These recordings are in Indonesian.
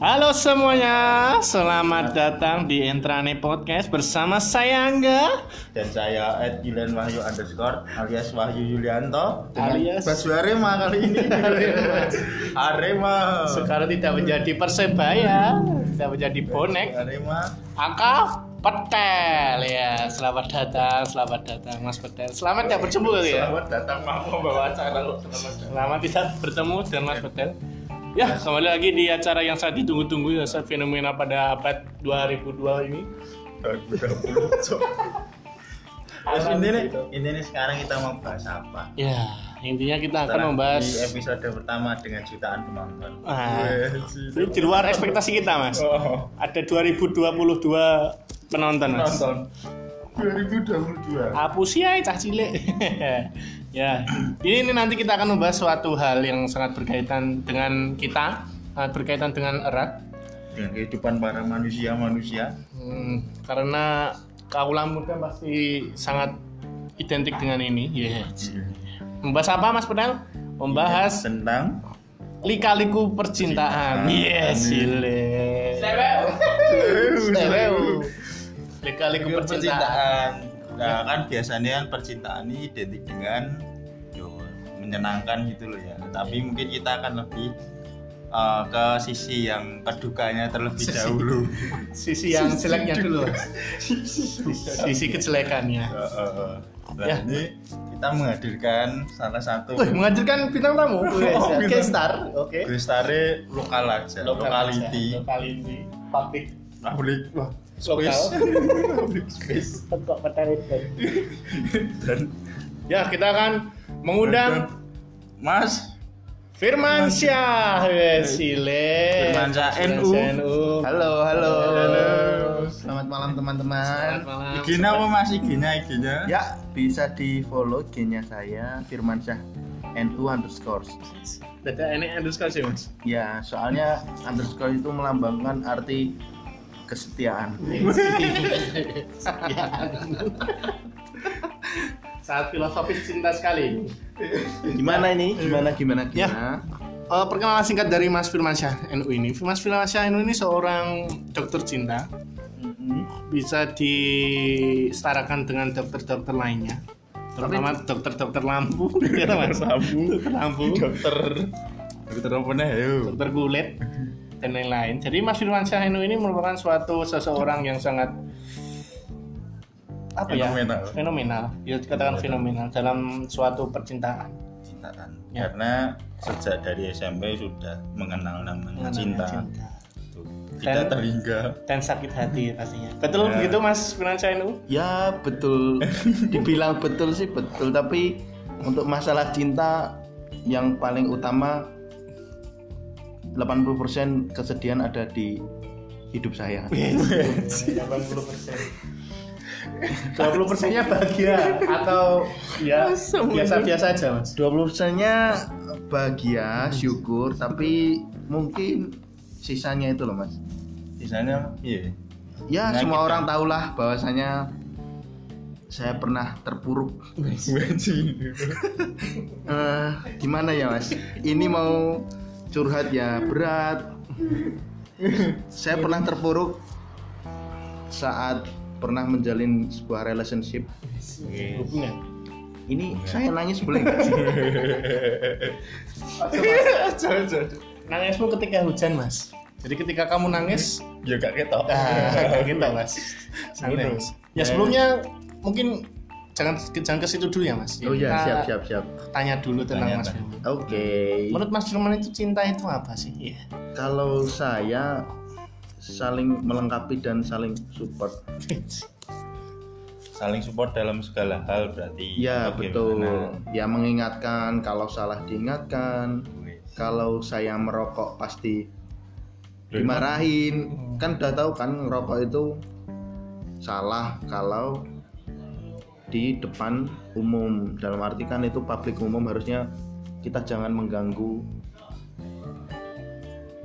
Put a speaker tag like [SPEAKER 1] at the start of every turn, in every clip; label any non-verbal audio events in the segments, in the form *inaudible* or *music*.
[SPEAKER 1] Halo semuanya, selamat datang di Entrane Podcast bersama saya Angga
[SPEAKER 2] dan saya Ed Gilan Wahyu underscore alias Wahyu Yulianto dengan
[SPEAKER 1] Alias.
[SPEAKER 2] Basu Arema kali ini Arema
[SPEAKER 1] Sekarang tidak menjadi persebaya, tidak menjadi bonek
[SPEAKER 2] Basu Arema
[SPEAKER 1] Angka Petel ya, selamat datang, selamat datang Mas Petel Selamat tidak berjumpa kali ya
[SPEAKER 2] selamat datang Mama bawa acara lo selamat
[SPEAKER 1] *laughs*
[SPEAKER 2] datang
[SPEAKER 1] Lama tidak bertemu dan Mas Petel Ya, kembali lagi di acara yang saat ditunggu-tunggu ya, saat fenomena pada abad 2002 ini
[SPEAKER 2] 2020 Cok. Terus intinya,
[SPEAKER 1] gitu?
[SPEAKER 2] intinya sekarang kita mau bahas apa?
[SPEAKER 1] Ya, intinya kita
[SPEAKER 2] Setelah
[SPEAKER 1] akan membahas
[SPEAKER 2] di episode pertama dengan jutaan penonton.
[SPEAKER 1] Ah.
[SPEAKER 2] Weh,
[SPEAKER 1] Ini di luar ekspektasi kita mas
[SPEAKER 2] Oh,
[SPEAKER 1] ada 2022 penonton mas
[SPEAKER 2] penonton 2022.
[SPEAKER 1] hapus ya cah cilik *laughs* ya ini, ini nanti kita akan membahas suatu hal yang sangat berkaitan dengan kita sangat berkaitan dengan erat
[SPEAKER 2] Dengan kehidupan para manusia-manusia.
[SPEAKER 1] Hmm, karena kaula muda pasti sangat identik dengan ini ya membahas apa mas Pedal membahas
[SPEAKER 2] Tentang
[SPEAKER 1] lika-liku percintaan yes cilik *laughs* Sewu. lika-liku
[SPEAKER 2] Lika-liku
[SPEAKER 1] percintaan
[SPEAKER 2] percintaan. Nah, kan biasanya kan percintaan ini identik dengan yo, menyenangkan gitu loh ya.
[SPEAKER 1] Iya.
[SPEAKER 2] Tapi mungkin kita akan lebih eh, ke sisi yang kedukanya terlebih
[SPEAKER 1] Sisi-
[SPEAKER 2] dahulu. *laughs*
[SPEAKER 1] sisi yang jeleknya dulu Mas. sisi kejelekannya
[SPEAKER 2] Eh, eh, eh. Nah,
[SPEAKER 1] Ya.
[SPEAKER 2] ini kita menghadirkan salah satu
[SPEAKER 1] Wih, menghadirkan bintang tamu Wih,
[SPEAKER 2] Oh, bintang.
[SPEAKER 1] guest star oke
[SPEAKER 2] Bestari lokal aja, lokality,
[SPEAKER 1] lokality public
[SPEAKER 2] public, wah,
[SPEAKER 1] Lokal.
[SPEAKER 2] space, public
[SPEAKER 1] *laughs*
[SPEAKER 2] space, dan
[SPEAKER 1] ya kita akan mengundang
[SPEAKER 2] Mas
[SPEAKER 1] Firman Syah Wih, Sile
[SPEAKER 2] Firman Syah, NU.
[SPEAKER 3] Halo, halo.
[SPEAKER 1] Halo.
[SPEAKER 3] Selamat malam teman-teman.
[SPEAKER 2] Igina apa Mas Igina Igina?
[SPEAKER 3] Ya, bisa di follow G-nya saya Firmansyah NU underscore.
[SPEAKER 1] Dada ini underscore sih mas
[SPEAKER 3] Ya, soalnya underscore itu melambangkan arti kesetiaan.
[SPEAKER 1] *laughs* Saat filosofis cinta sekali
[SPEAKER 3] Gimana ini? Gimana gimana
[SPEAKER 1] Ya.
[SPEAKER 3] gimana?
[SPEAKER 1] Eh, perkenalan singkat dari Mas Firmansyah NU ini. Mas Firmansyah NU ini seorang dokter cinta,
[SPEAKER 3] Mm-hmm.
[SPEAKER 1] bisa disetarakan dengan dokter-dokter lainnya, terutama dokter-dokter lampu, *laughs* ya Mas.
[SPEAKER 2] Sabu,
[SPEAKER 1] Dokter lampu,
[SPEAKER 2] dokter, dokter apa nih? Ayo.
[SPEAKER 1] dokter kulit dan lain-lain. Jadi Mas Firmansyah NU ini merupakan suatu seseorang yang sangat apa ya?
[SPEAKER 2] Fenomenal.
[SPEAKER 1] Fenomenal. Bisa dikatakan fenomenal dalam suatu percintaan.
[SPEAKER 2] Cintaan.
[SPEAKER 1] Ya.
[SPEAKER 2] Karena sejak dari SMP sudah mengenal namanya cinta. Tuh,
[SPEAKER 1] Dan-
[SPEAKER 2] Kita terhingga.
[SPEAKER 1] dan sakit hati pastinya. Betul
[SPEAKER 2] Ya.
[SPEAKER 1] begitu Mas Firmansyah NU?
[SPEAKER 3] Ya, *laughs* betul. Dibilang betul sih betul, tapi untuk masalah cinta yang paling utama 80% kesedihan ada di hidup saya.
[SPEAKER 1] 80 persennya bahagia atau ya biasa-biasa aja mas
[SPEAKER 3] 20%-nya bahagia, syukur, tapi mungkin sisanya itu loh, Mas.
[SPEAKER 2] Misalnya, iya.
[SPEAKER 3] Ya,
[SPEAKER 2] Nah,
[SPEAKER 3] semua
[SPEAKER 2] kita-
[SPEAKER 3] orang tahulah bahwasanya saya pernah terpuruk. Eh, gimana ya, Mas? Ini mau curhat ya, berat. saya pernah terpuruk saat pernah menjalin sebuah relationship.
[SPEAKER 1] hubungan
[SPEAKER 3] Ini saya nangis boleh nggak?
[SPEAKER 1] *laughs* nangismu ketika hujan mas jadi ketika kamu nangis
[SPEAKER 2] Ya gak ketok.
[SPEAKER 1] ah gitu mas Santai,
[SPEAKER 2] Gitu.
[SPEAKER 1] Mas. ya sebelumnya mungkin jangan jangan ke situ dulu ya mas
[SPEAKER 3] Oh ya,
[SPEAKER 1] Kita
[SPEAKER 3] siap siap siap.
[SPEAKER 1] tanya dulu tentang
[SPEAKER 2] Tanya,
[SPEAKER 1] mas
[SPEAKER 2] tanya.
[SPEAKER 1] Firman
[SPEAKER 3] Oke.
[SPEAKER 1] menurut mas Firman itu cinta itu apa sih *laughs* Iya.
[SPEAKER 3] Kalau saya saling melengkapi dan saling support.
[SPEAKER 2] Saling support dalam segala hal berarti.
[SPEAKER 3] Ya
[SPEAKER 2] Atau
[SPEAKER 3] betul.
[SPEAKER 2] gimana?
[SPEAKER 3] Ya mengingatkan kalau salah diingatkan.
[SPEAKER 2] Wes.
[SPEAKER 3] Kalau saya merokok pasti dimarahin. Kan udah tahu kan ngerokok itu salah kalau di depan umum. Dalam arti kan itu publik umum harusnya kita jangan mengganggu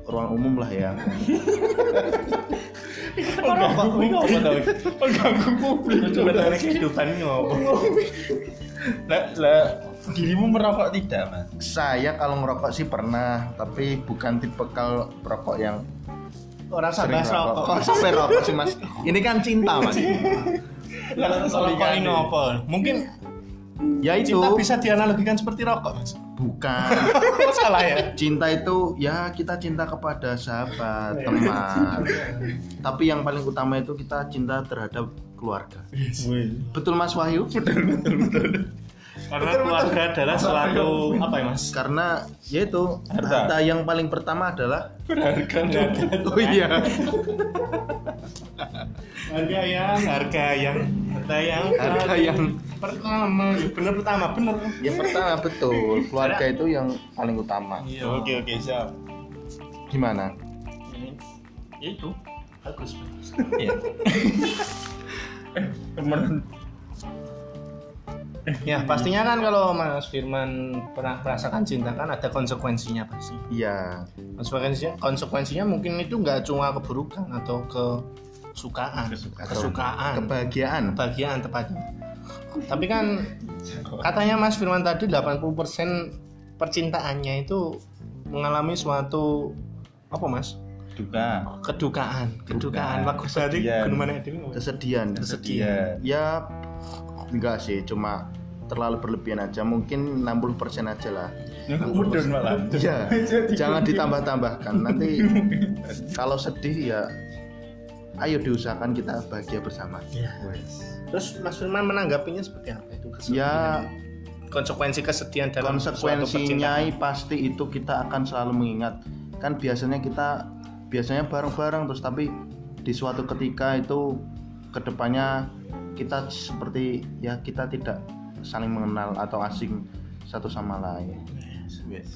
[SPEAKER 3] ruang umum lah ya.
[SPEAKER 2] Pengganggu publik apa tau? Pengganggu publik
[SPEAKER 1] Coba dari kehidupan ngopo
[SPEAKER 2] Lah, lah, dirimu merokok tidak mas?
[SPEAKER 3] saya kalau ngerokok sih pernah tapi bukan tipe kalau perokok yang
[SPEAKER 1] orang
[SPEAKER 3] Sering
[SPEAKER 1] sabah
[SPEAKER 3] rokok.
[SPEAKER 1] rokok
[SPEAKER 3] Kok sampai rokok sih mas? Ini kan cinta mas.
[SPEAKER 1] rokok ini apa mungkin
[SPEAKER 3] Ya itu
[SPEAKER 1] cinta bisa dianalogikan seperti rokok mas *laughs*
[SPEAKER 3] bukan.
[SPEAKER 1] salah ya
[SPEAKER 3] Cinta itu ya kita cinta kepada sahabat, teman. Tapi yang paling utama itu kita cinta terhadap keluarga. Betul Mas Wahyu?
[SPEAKER 1] karena keluarga adalah suatu apa ya mas
[SPEAKER 3] Karena yaitu
[SPEAKER 2] Harta.
[SPEAKER 3] harta yang paling pertama adalah
[SPEAKER 1] berharga
[SPEAKER 3] *laughs* Oh
[SPEAKER 1] harga
[SPEAKER 3] iya,
[SPEAKER 1] yang harga yang harga yang
[SPEAKER 3] harta yang
[SPEAKER 1] pertama bener pertama bener
[SPEAKER 3] ya pertama betul. Keluarga itu yang paling utama.
[SPEAKER 1] iya
[SPEAKER 2] oke oke siap
[SPEAKER 3] Gimana?
[SPEAKER 1] Ya itu bagus bagus
[SPEAKER 2] Iya. Temen.
[SPEAKER 1] ya pastinya kan kalau mas firman pernah merasakan cinta kan ada konsekuensinya pasti
[SPEAKER 3] Iya.
[SPEAKER 1] konsekuensinya konsekuensinya mungkin itu nggak cuma keburukan atau kesukaan
[SPEAKER 3] Kesukaan.
[SPEAKER 1] kesukaan
[SPEAKER 3] Kebahagiaan.
[SPEAKER 1] kebahagiaan tepatnya tapi kan katanya Mas Firman tadi 80% percintaannya itu mengalami suatu apa Mas
[SPEAKER 2] Duka.
[SPEAKER 1] kedukaan kedukaan
[SPEAKER 2] Kedukaan.
[SPEAKER 1] bagus tadi
[SPEAKER 2] Kesedihan.
[SPEAKER 1] gunungannya itu apa?
[SPEAKER 3] Kesedihan.
[SPEAKER 2] Kesedihan.
[SPEAKER 3] Ya enggak sih, cuma terlalu berlebihan aja. Mungkin 60% aja lah.
[SPEAKER 2] Mudun malah. *laughs*
[SPEAKER 3] Iya, jangan ditambah-tambahkan. Nanti kalau sedih ya ayo diusahakan kita bahagia bersama.
[SPEAKER 1] Ya. terus Mas Firman menanggapinya seperti apa itu
[SPEAKER 3] Ya
[SPEAKER 1] kesedihan konsekuensi kesedihan dalam suatu
[SPEAKER 3] konsekuensinya
[SPEAKER 1] percintaan.
[SPEAKER 3] pasti itu kita akan selalu mengingat. Kan biasanya kita biasanya bareng-bareng terus tapi di suatu ketika itu kedepannya kita seperti ya kita tidak saling mengenal atau asing satu sama lain.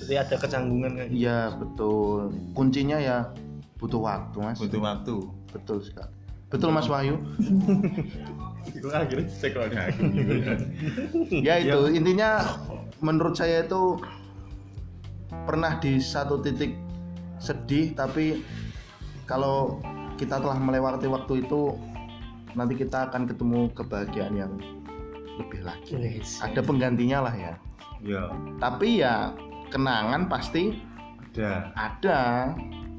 [SPEAKER 1] jadi ada kecanggungan kayak gitu.
[SPEAKER 3] Iya betul. Kuncinya ya butuh waktu mas.
[SPEAKER 2] Butuh waktu.
[SPEAKER 3] Betul sekali. Betul Mas Wahyu.
[SPEAKER 2] Itu akhirnya Iya. cek
[SPEAKER 3] ya itu intinya menurut saya itu pernah di satu titik sedih tapi kalau kita telah melewati waktu itu nanti kita akan ketemu kebahagiaan yang lebih
[SPEAKER 1] gitu.
[SPEAKER 3] lagi
[SPEAKER 1] Yes.
[SPEAKER 3] ada penggantinya lah ya
[SPEAKER 2] Ya,
[SPEAKER 3] tapi ya kenangan pasti
[SPEAKER 2] ada.
[SPEAKER 3] ada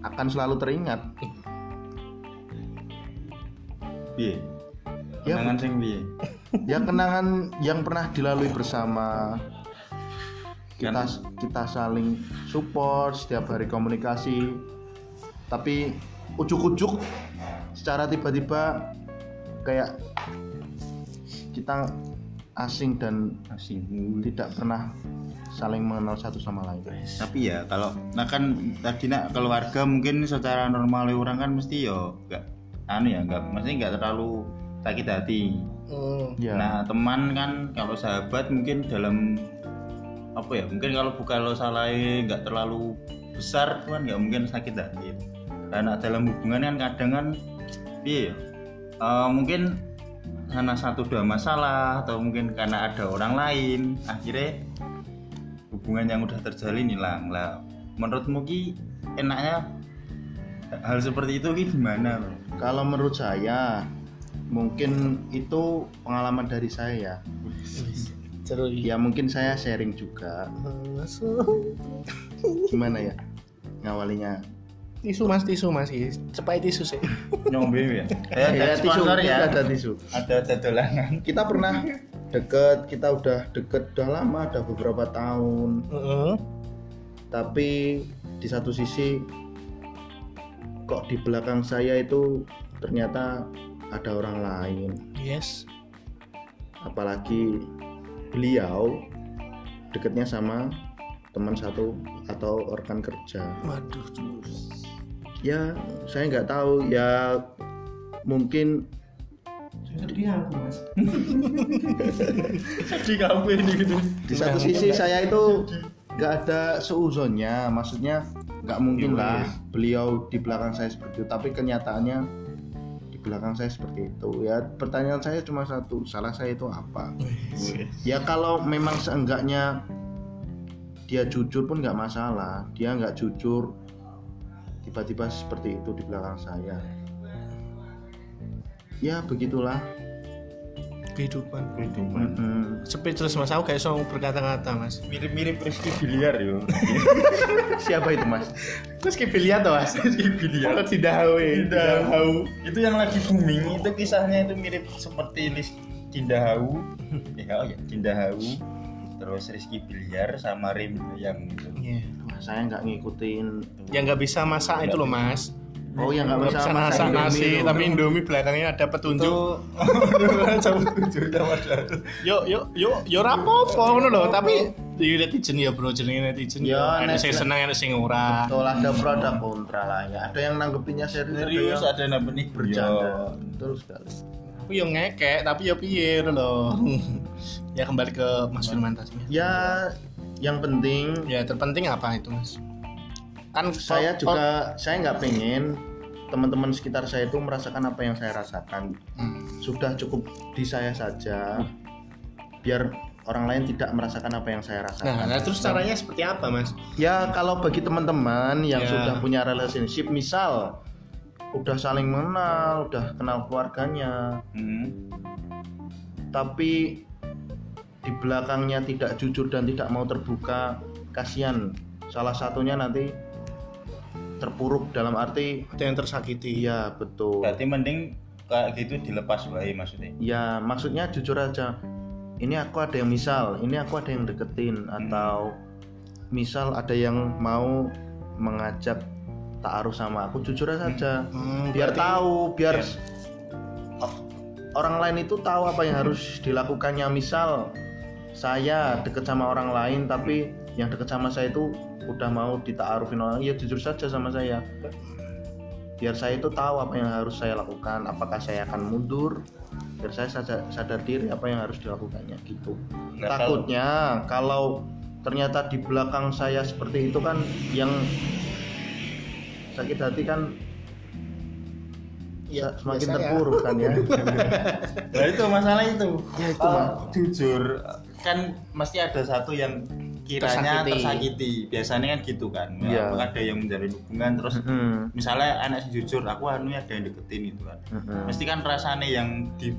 [SPEAKER 3] akan selalu teringat
[SPEAKER 2] Piye?
[SPEAKER 3] Ya,
[SPEAKER 2] Kenangan sing piye?
[SPEAKER 3] ya kenangan yang pernah dilalui bersama kita kita saling support setiap hari komunikasi tapi ujuk-ujuk secara tiba-tiba kayak kita asing dan
[SPEAKER 2] Asing.
[SPEAKER 3] tidak pernah saling mengenal satu sama lain
[SPEAKER 2] Tapi ya kalau nah kan tadi nak keluarga mungkin secara normal orang kan mesti ya enggak anu ya enggak mesti enggak terlalu sakit hati.
[SPEAKER 1] Hmm.
[SPEAKER 3] ya
[SPEAKER 2] Nah teman kan kalau sahabat mungkin dalam apa ya mungkin kalau bukan lo salahnya nggak terlalu besar kan nggak mungkin sakit hati. Karena dalam hubungan kan kadang kan iya, eh, mungkin karena satu dua masalah atau mungkin karena ada orang lain akhirnya hubungan yang udah terjalin hilang lah. Menurutmu ki enaknya hal seperti itu ki gimana? Bro?
[SPEAKER 3] kalau menurut saya mungkin itu pengalaman dari saya ya
[SPEAKER 1] seru iya.
[SPEAKER 3] ya mungkin saya sharing juga
[SPEAKER 1] Masuk.
[SPEAKER 3] gimana ya ngawalinya
[SPEAKER 1] tisu mas tisu mas Yes. cepai tisu sih
[SPEAKER 2] Nyombe
[SPEAKER 3] *laughs*
[SPEAKER 2] ya. Eh,
[SPEAKER 3] Ya,
[SPEAKER 2] ada sponsor ya.
[SPEAKER 3] kita ada tisu
[SPEAKER 2] Ada jadolanan.
[SPEAKER 3] kita pernah deket kita udah deket udah lama udah beberapa tahun
[SPEAKER 1] Heeh.
[SPEAKER 3] tapi di satu sisi kok di belakang saya itu ternyata ada orang lain
[SPEAKER 1] yes
[SPEAKER 3] apalagi beliau deketnya sama teman satu atau rekan kerja
[SPEAKER 1] waduh terus
[SPEAKER 3] ya saya nggak tahu ya mungkin
[SPEAKER 1] sedih aku mas
[SPEAKER 2] di kafe ini gitu
[SPEAKER 3] di satu sisi saya itu nggak ada seuzonnya maksudnya nggak mungkin
[SPEAKER 2] Iya,
[SPEAKER 3] lah
[SPEAKER 2] iya.
[SPEAKER 3] beliau di belakang saya seperti itu tapi kenyataannya di belakang saya seperti itu ya pertanyaan saya cuma satu salah saya itu apa ya kalau memang seenggaknya dia jujur pun nggak masalah dia nggak jujur tiba-tiba seperti itu di belakang saya ya begitulah
[SPEAKER 1] kehidupan
[SPEAKER 2] kehidupan
[SPEAKER 1] speechless mas aku kayak song berkata-kata mas
[SPEAKER 2] mirip-mirip Rizky Biliar yo
[SPEAKER 3] Siapa itu mas?
[SPEAKER 1] terus kibiliat tuh mas
[SPEAKER 2] Rizky Biliar
[SPEAKER 1] atau tidak hawe
[SPEAKER 3] eh?
[SPEAKER 2] Dinda Hau *laughs* itu yang lagi booming itu kisahnya itu mirip seperti Lis Dinda Hau ya oh ya Dinda Hau terus Rizky Biliar sama Rim yang itu
[SPEAKER 1] Iya.
[SPEAKER 3] Wah, saya nggak ngikutin.
[SPEAKER 1] yang nggak bisa masak itu loh mas
[SPEAKER 3] Oh yang
[SPEAKER 1] nggak
[SPEAKER 3] nggak bisa
[SPEAKER 1] bisa masak
[SPEAKER 3] masak
[SPEAKER 1] nasi
[SPEAKER 3] Indomie
[SPEAKER 1] tapi
[SPEAKER 3] itu.
[SPEAKER 1] indomie belakangnya ada petunjuk
[SPEAKER 2] *laughs* cabut tujuh ada
[SPEAKER 1] yo yo yo yo rapopo ngono lho tapi yo netizen ya bro jenenge netizen
[SPEAKER 3] Ya,
[SPEAKER 1] ana sing
[SPEAKER 3] net-
[SPEAKER 1] seneng ana sing ora
[SPEAKER 3] Betul ada pro ada kontra lah ya. Ada yang nanggepinnya serius,
[SPEAKER 2] serius
[SPEAKER 3] ada
[SPEAKER 2] ada
[SPEAKER 3] yang
[SPEAKER 2] Iya. namanya
[SPEAKER 3] bercanda. Betul sekali.
[SPEAKER 1] aku yo ngekek tapi yo piye ngono lho *laughs* ya kembali ke Mas Firman tadi
[SPEAKER 3] Ya yang penting
[SPEAKER 1] ya terpenting apa itu Mas kan
[SPEAKER 3] saya
[SPEAKER 1] kok- kok-
[SPEAKER 3] juga saya nggak pengen teman-teman sekitar saya itu merasakan apa yang saya rasakan
[SPEAKER 1] Hmm,
[SPEAKER 3] sudah cukup di saya saja biar orang lain tidak merasakan apa yang saya
[SPEAKER 1] nah,
[SPEAKER 3] rasakan
[SPEAKER 1] nah, terus caranya
[SPEAKER 2] Hmm.
[SPEAKER 1] seperti apa Mas
[SPEAKER 3] ya kalau bagi teman-teman
[SPEAKER 1] Ya.
[SPEAKER 3] yang sudah punya relationship misal udah saling mengenal udah kenal keluarganya tapi di belakangnya tidak jujur dan tidak mau terbuka kasihan salah satunya nanti terpuruk dalam arti
[SPEAKER 1] ada yang tersakiti
[SPEAKER 3] Iya betul.
[SPEAKER 2] berarti mending kayak gitu dilepas wae maksudnya
[SPEAKER 3] Ya maksudnya jujur aja. Ini aku ada yang misal, ini aku ada yang deketin atau misal ada yang mau mengajak taaruf sama aku jujur saja.
[SPEAKER 1] Hmm,
[SPEAKER 3] Biar
[SPEAKER 1] berarti-
[SPEAKER 3] tahu, biar
[SPEAKER 2] Biar-
[SPEAKER 3] o- orang lain itu tahu apa yang harus dilakukannya. Misal saya deket sama orang lain tapi yang deket sama saya itu udah mau ditaarufin orang, ya jujur saja sama saya. biar saya itu tahu apa yang harus saya lakukan apakah saya akan mundur biar saya sadar, sadar diri apa yang harus dilakukannya gitu
[SPEAKER 2] Nah,
[SPEAKER 3] takutnya kalau ternyata di belakang saya seperti itu kan yang sakit hati kan ya semakin
[SPEAKER 1] biasa ya.
[SPEAKER 3] terpuruk kan
[SPEAKER 1] *laughs*
[SPEAKER 3] ya
[SPEAKER 2] Nah itu masalah itu.
[SPEAKER 3] Ya, itu,
[SPEAKER 2] Kalau
[SPEAKER 3] Pak.
[SPEAKER 2] jujur kan mesti ada satu yang kiranya
[SPEAKER 1] Tersakiti.
[SPEAKER 2] tersakiti. Biasanya kan gitu kan.
[SPEAKER 3] Iya.
[SPEAKER 2] Ya, Ada yang menjalin hubungan terus
[SPEAKER 3] Mm-mm.
[SPEAKER 2] misalnya anak si jujur aku anu ya ada yang deketin gitu kan.
[SPEAKER 3] Mm-mm.
[SPEAKER 2] Mesti kan rasanya yang di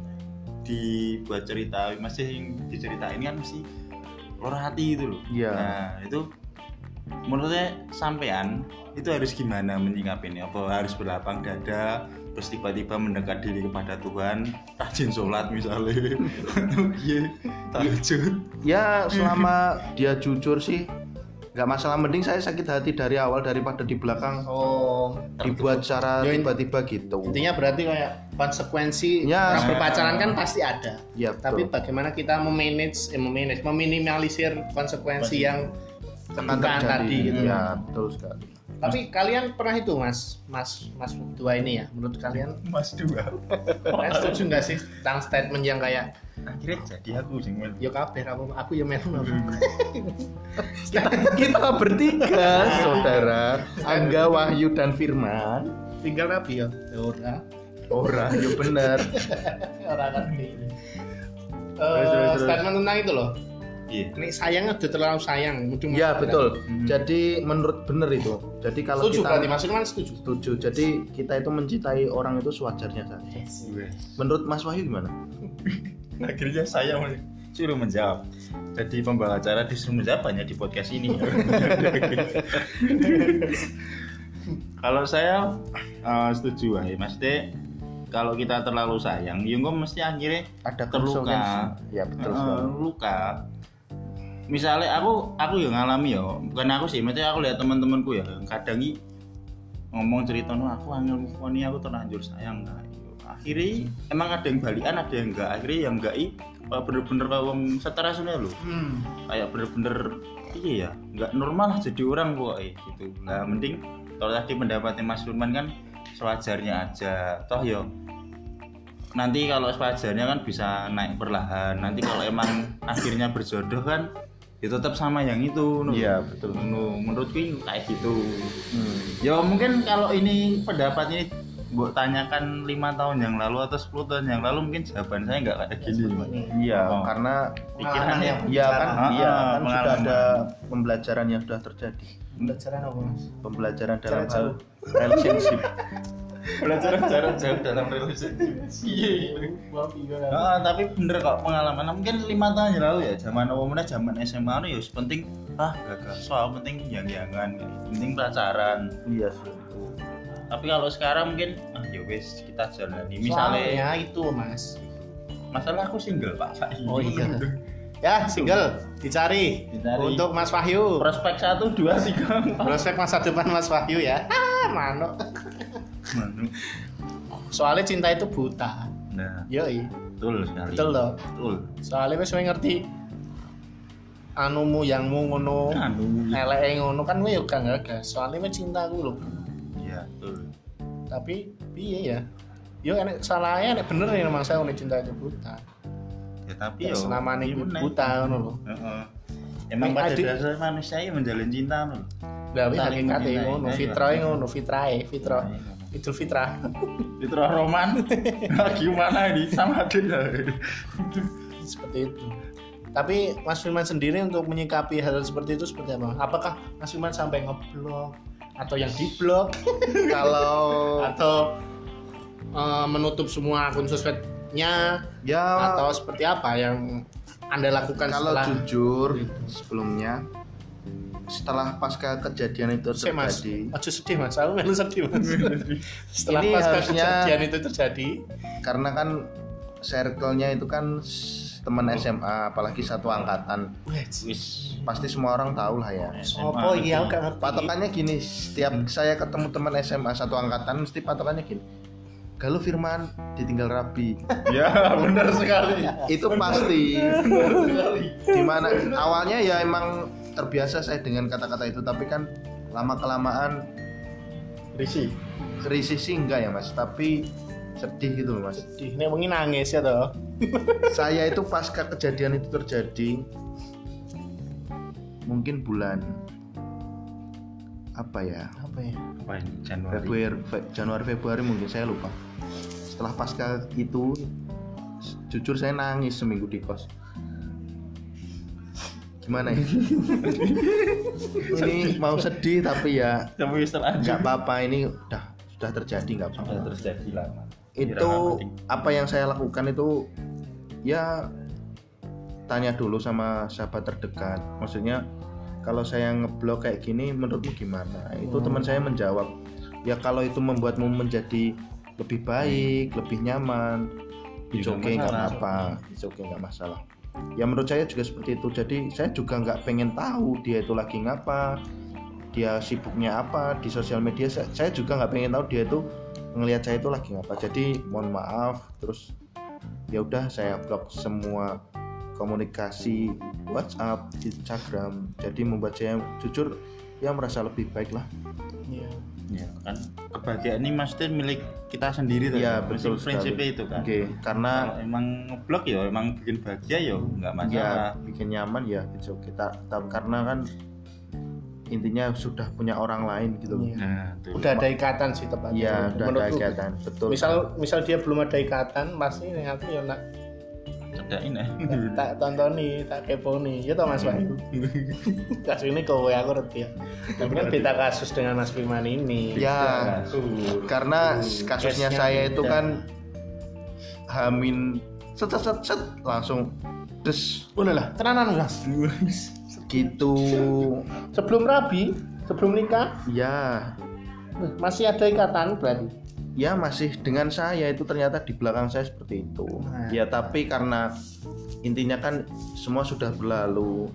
[SPEAKER 2] dibuat cerita masih yang diceritain kan mesti lor hati itu loh.
[SPEAKER 3] Iya.
[SPEAKER 2] Nah, itu menurutnya sampean itu harus gimana menyikapinya apa harus berlapang dada terus tiba-tiba mendekat diri kepada Tuhan rajin sholat misalnya iya tahajud
[SPEAKER 3] ya selama dia jujur sih nggak masalah mending saya sakit hati dari awal daripada di belakang
[SPEAKER 1] oh
[SPEAKER 3] dibuat secara
[SPEAKER 1] Ya, in-
[SPEAKER 3] tiba-tiba gitu
[SPEAKER 1] intinya berarti kayak konsekuensi orang
[SPEAKER 3] Ya,
[SPEAKER 2] saya-
[SPEAKER 1] berpacaran kan pasti ada
[SPEAKER 3] ya
[SPEAKER 1] tapi
[SPEAKER 3] betul.
[SPEAKER 1] bagaimana kita memanage eh, memanage meminimalisir konsekuensi yang
[SPEAKER 3] Akan
[SPEAKER 1] bukan
[SPEAKER 3] terjadi.
[SPEAKER 1] tadi gitu
[SPEAKER 3] ya betul
[SPEAKER 1] *laughs*
[SPEAKER 3] sekali
[SPEAKER 1] tapi kalian pernah itu mas mas mas dua ini ya menurut kalian
[SPEAKER 3] *laughs*
[SPEAKER 2] mas dua
[SPEAKER 1] kalian setuju nggak sih tentang statement yang kayak
[SPEAKER 2] akhirnya jadi aku sih Mas.
[SPEAKER 1] yo kabeh aku aku ya melu apa?"
[SPEAKER 3] Hmm. kita, kita bertiga saudara Angga Wahyu dan Firman
[SPEAKER 1] *laughs* tinggal rapi ya Ya ora
[SPEAKER 3] ora yo bener
[SPEAKER 1] ora kan kayak gini.
[SPEAKER 3] Terus,
[SPEAKER 1] Eh,
[SPEAKER 3] terus, terus.
[SPEAKER 1] statement tentang itu loh
[SPEAKER 2] iya
[SPEAKER 1] ini sayangnya udah terlalu sayang Mudung
[SPEAKER 3] ya
[SPEAKER 1] masalah.
[SPEAKER 3] betul jadi menurut bener itu jadi
[SPEAKER 1] Hmm.
[SPEAKER 3] kalau
[SPEAKER 1] setuju berarti
[SPEAKER 3] kita
[SPEAKER 1] maksudnya kan setuju
[SPEAKER 3] setuju jadi kita itu mencintai orang itu sewajarnya saja menurut Mas Wahyu gimana
[SPEAKER 2] *laughs* akhirnya saya men- suruh menjawab jadi pembawa acara disuruh menjawab hanya di podcast ini *laughs* kalau saya eh, setuju aja maksudnya kalau kita terlalu sayang ya kok mesti akhirnya
[SPEAKER 3] ada
[SPEAKER 2] Terluka.
[SPEAKER 3] konsekuensi ya betul sekali
[SPEAKER 2] eh, luka misalnya aku aku yang ngalami ya bukan aku sih maksudnya aku lihat teman-temanku ya kadang i- ngomong cerita "No, aku angel move on, ini aku terlanjur sayang nah, iyo. akhirnya emang ada yang balikan ada yang enggak akhirnya yang enggak i wah, bener-bener kayak wong setara sebenarnya loh
[SPEAKER 1] hmm.
[SPEAKER 2] kayak bener-bener iya ya nggak normal lah jadi orang kok gitu nah mending kalau tadi pendapatnya Mas Firman kan sewajarnya aja toh yo nanti kalau sewajarnya kan bisa naik perlahan nanti kalau emang akhirnya berjodoh kan ya tetap sama yang itu no.
[SPEAKER 3] Iya, betul.
[SPEAKER 2] No, menurutku ini kayak gitu
[SPEAKER 3] Hmm.
[SPEAKER 2] ya mungkin kalau ini pendapat ini buat tanyakan lima tahun yang lalu atau 10 tahun yang lalu mungkin jawaban saya nggak kayak gini
[SPEAKER 3] Iya,
[SPEAKER 2] Oh.
[SPEAKER 3] karena
[SPEAKER 1] Pengalaman
[SPEAKER 2] pikiran ya
[SPEAKER 1] yang
[SPEAKER 3] iya kan,
[SPEAKER 1] Pembelajaran.
[SPEAKER 3] iya
[SPEAKER 2] Ah,
[SPEAKER 3] kan sudah
[SPEAKER 2] pengalaman.
[SPEAKER 3] ada pembelajaran yang sudah terjadi.
[SPEAKER 1] Pembelajaran apa mas?
[SPEAKER 3] Pembelajaran dalam
[SPEAKER 1] Jarak
[SPEAKER 3] hal relationship.
[SPEAKER 2] belajar jarak jauh dalam relationship Iya.
[SPEAKER 3] Ah,
[SPEAKER 2] Heeh, Ah, tapi bener kok pengalaman Nah, mungkin lima tahun yang lalu ya zaman awalnya zaman SMA anu ya wis penting ah gagal soal penting yang-yangan penting pacaran
[SPEAKER 3] Iya.
[SPEAKER 2] tapi kalau sekarang mungkin ah ya wis kita jalani
[SPEAKER 1] Misalnya
[SPEAKER 2] misalnya
[SPEAKER 1] itu mas.
[SPEAKER 2] masalah aku single pak saiki.
[SPEAKER 1] Oh, iya. Ya single dicari,
[SPEAKER 2] Dicari.
[SPEAKER 1] untuk Mas Wahyu.
[SPEAKER 2] prospek satu dua tiga empat
[SPEAKER 1] Prospek masa depan Mas Wahyu ya. Ah, mano. Soalnya cinta itu buta.
[SPEAKER 2] nah
[SPEAKER 3] Iya.
[SPEAKER 1] Yoi,
[SPEAKER 2] betul sekali
[SPEAKER 1] betul loh.
[SPEAKER 2] betul
[SPEAKER 1] Soalnya wis weh ngerti anumu yangmu ngono.
[SPEAKER 3] Ah.
[SPEAKER 2] anu
[SPEAKER 1] Eleke ngono kan weh yo gak ngegas. Soalnya weh cinta aku lho.
[SPEAKER 2] iya betul
[SPEAKER 1] Tapi piye ya? Yo enek salahnya enek bener ya memang saya unik cinta itu buta.
[SPEAKER 2] ya tapi
[SPEAKER 1] Ya,
[SPEAKER 2] yo
[SPEAKER 1] selama ini
[SPEAKER 2] gimana?
[SPEAKER 1] buta ngono lho.
[SPEAKER 2] Heeh. Emang
[SPEAKER 1] Nek
[SPEAKER 2] pada
[SPEAKER 1] adik-
[SPEAKER 2] dasarnya manusia ya menjalin cinta loh.
[SPEAKER 1] Lah wis
[SPEAKER 2] Saling
[SPEAKER 1] hakikate
[SPEAKER 2] mencintai.
[SPEAKER 1] ngono,
[SPEAKER 2] Ayo.
[SPEAKER 1] fitrahe ngono, fitrahe, fitrah. Idul Fitrah.
[SPEAKER 2] Fitra Iya. Roman gimana nih sama
[SPEAKER 3] ya?
[SPEAKER 2] dia?
[SPEAKER 1] *laughs* seperti itu. Tapi Mas Firman sendiri untuk menyikapi hal seperti itu seperti apa? Apakah Mas Firman sampai ngeblok atau yang diblok
[SPEAKER 3] Kalau
[SPEAKER 1] atau eh, menutup semua akun sosmednya
[SPEAKER 3] ya
[SPEAKER 1] atau seperti apa yang Anda lakukan
[SPEAKER 3] kalau
[SPEAKER 1] setelah
[SPEAKER 3] jujur sebelumnya setelah pasca kejadian itu
[SPEAKER 1] Sik, Mas.
[SPEAKER 3] terjadi
[SPEAKER 1] Aduh sedih Mas, aku melu sedih Mas. setelah
[SPEAKER 3] Ini
[SPEAKER 1] pasca
[SPEAKER 3] harusnya-
[SPEAKER 1] kejadian itu terjadi,
[SPEAKER 3] karena kan circle-nya itu kan s- teman SMA apalagi satu angkatan
[SPEAKER 2] Wis.
[SPEAKER 3] pasti semua orang tahu lah ya
[SPEAKER 1] apa iya aku gak ngerti.
[SPEAKER 3] patokannya gini setiap saya ketemu teman SMA satu angkatan mesti patokannya gini kalau Firman ditinggal Rabi
[SPEAKER 2] *laughs* Ya benar sekali.
[SPEAKER 3] itu pasti dimana awalnya ya emang terbiasa saya dengan kata-kata itu tapi kan lama kelamaan
[SPEAKER 1] Risi.
[SPEAKER 3] risih sih enggak ya mas tapi sedih gitu loh mas
[SPEAKER 1] Sedih. Nek wengi nangis ya toh.
[SPEAKER 3] saya itu pasca kejadian itu terjadi mungkin bulan apa ya
[SPEAKER 1] Apa ya?
[SPEAKER 2] Apa ini Januari?
[SPEAKER 3] Februari Fe- Januari Februari mungkin saya lupa setelah pasca itu s- jujur saya nangis seminggu di kos gimana
[SPEAKER 2] *laughs*
[SPEAKER 3] ya ini mau sedih tapi ya
[SPEAKER 2] Tapi wis terlanjur.
[SPEAKER 3] nggak apa-apa ini udah sudah terjadi nggak apa-apa
[SPEAKER 2] Sudah terjadi lah. Mas.
[SPEAKER 3] itu
[SPEAKER 2] Kira-kira penting.
[SPEAKER 3] apa yang saya lakukan itu ya tanya dulu sama sahabat terdekat maksudnya kalau saya ngeblok kayak gini menurutmu gimana itu teman saya menjawab ya kalau itu membuatmu menjadi lebih baik lebih nyaman
[SPEAKER 2] Ya,
[SPEAKER 3] it's
[SPEAKER 2] nggak
[SPEAKER 3] okay nggak
[SPEAKER 2] masalah.
[SPEAKER 3] apa-apa it's okay nggak masalah ya menurut saya juga seperti itu jadi saya juga nggak pengen tahu dia itu lagi ngapa dia sibuknya apa di sosial media saya, saya juga nggak pengen tahu dia itu ngelihat saya itu lagi ngapa jadi mohon maaf terus ya udah saya blok semua komunikasi WhatsApp Instagram jadi membuat saya jujur ya merasa lebih baik lah
[SPEAKER 1] Iya.
[SPEAKER 2] Ya kan kebahagiaan ini maksudnya milik kita sendiri tuh.
[SPEAKER 3] Iya,
[SPEAKER 2] Mas.
[SPEAKER 3] betul
[SPEAKER 2] Prinsipnya
[SPEAKER 3] sekali.
[SPEAKER 2] itu kan.
[SPEAKER 3] oke karena
[SPEAKER 2] Kalau emang ngeblok ya emang bikin bahagia ya nggak
[SPEAKER 3] ya
[SPEAKER 2] masalah.
[SPEAKER 3] bikin nyaman ya itu kita karena kan intinya sudah punya orang lain gitu loh
[SPEAKER 1] Iya.
[SPEAKER 2] Nah, tuh.
[SPEAKER 1] Udah ada ikatan sih tepatnya.
[SPEAKER 3] Iya, udah ada
[SPEAKER 1] Menurutku.
[SPEAKER 3] ikatan, betul.
[SPEAKER 1] misal misal dia belum ada ikatan pasti nih aku ya nak
[SPEAKER 3] *laughs*
[SPEAKER 2] Cedhain ya.
[SPEAKER 1] tak tontoni tak keponi ya toh mas
[SPEAKER 3] *laughs*
[SPEAKER 1] Wahyu kasus ini kowe aku ngerti ya tapi kan beda kasus dengan Mas Firman ini
[SPEAKER 3] ya,
[SPEAKER 2] Tuh.
[SPEAKER 3] karena
[SPEAKER 1] Hmm, Case-nya gitu
[SPEAKER 3] kasusnya
[SPEAKER 1] ya.
[SPEAKER 3] saya itu
[SPEAKER 1] beda.
[SPEAKER 3] kan hamin set set set, set, langsung des
[SPEAKER 1] udah lah tenanan mas
[SPEAKER 3] gitu
[SPEAKER 1] sebelum rabi sebelum nikah
[SPEAKER 3] ya
[SPEAKER 1] masih ada ikatan berarti
[SPEAKER 3] ya masih dengan saya itu ternyata di belakang saya seperti itu
[SPEAKER 1] Nah.
[SPEAKER 3] ya tapi karena intinya kan semua sudah berlalu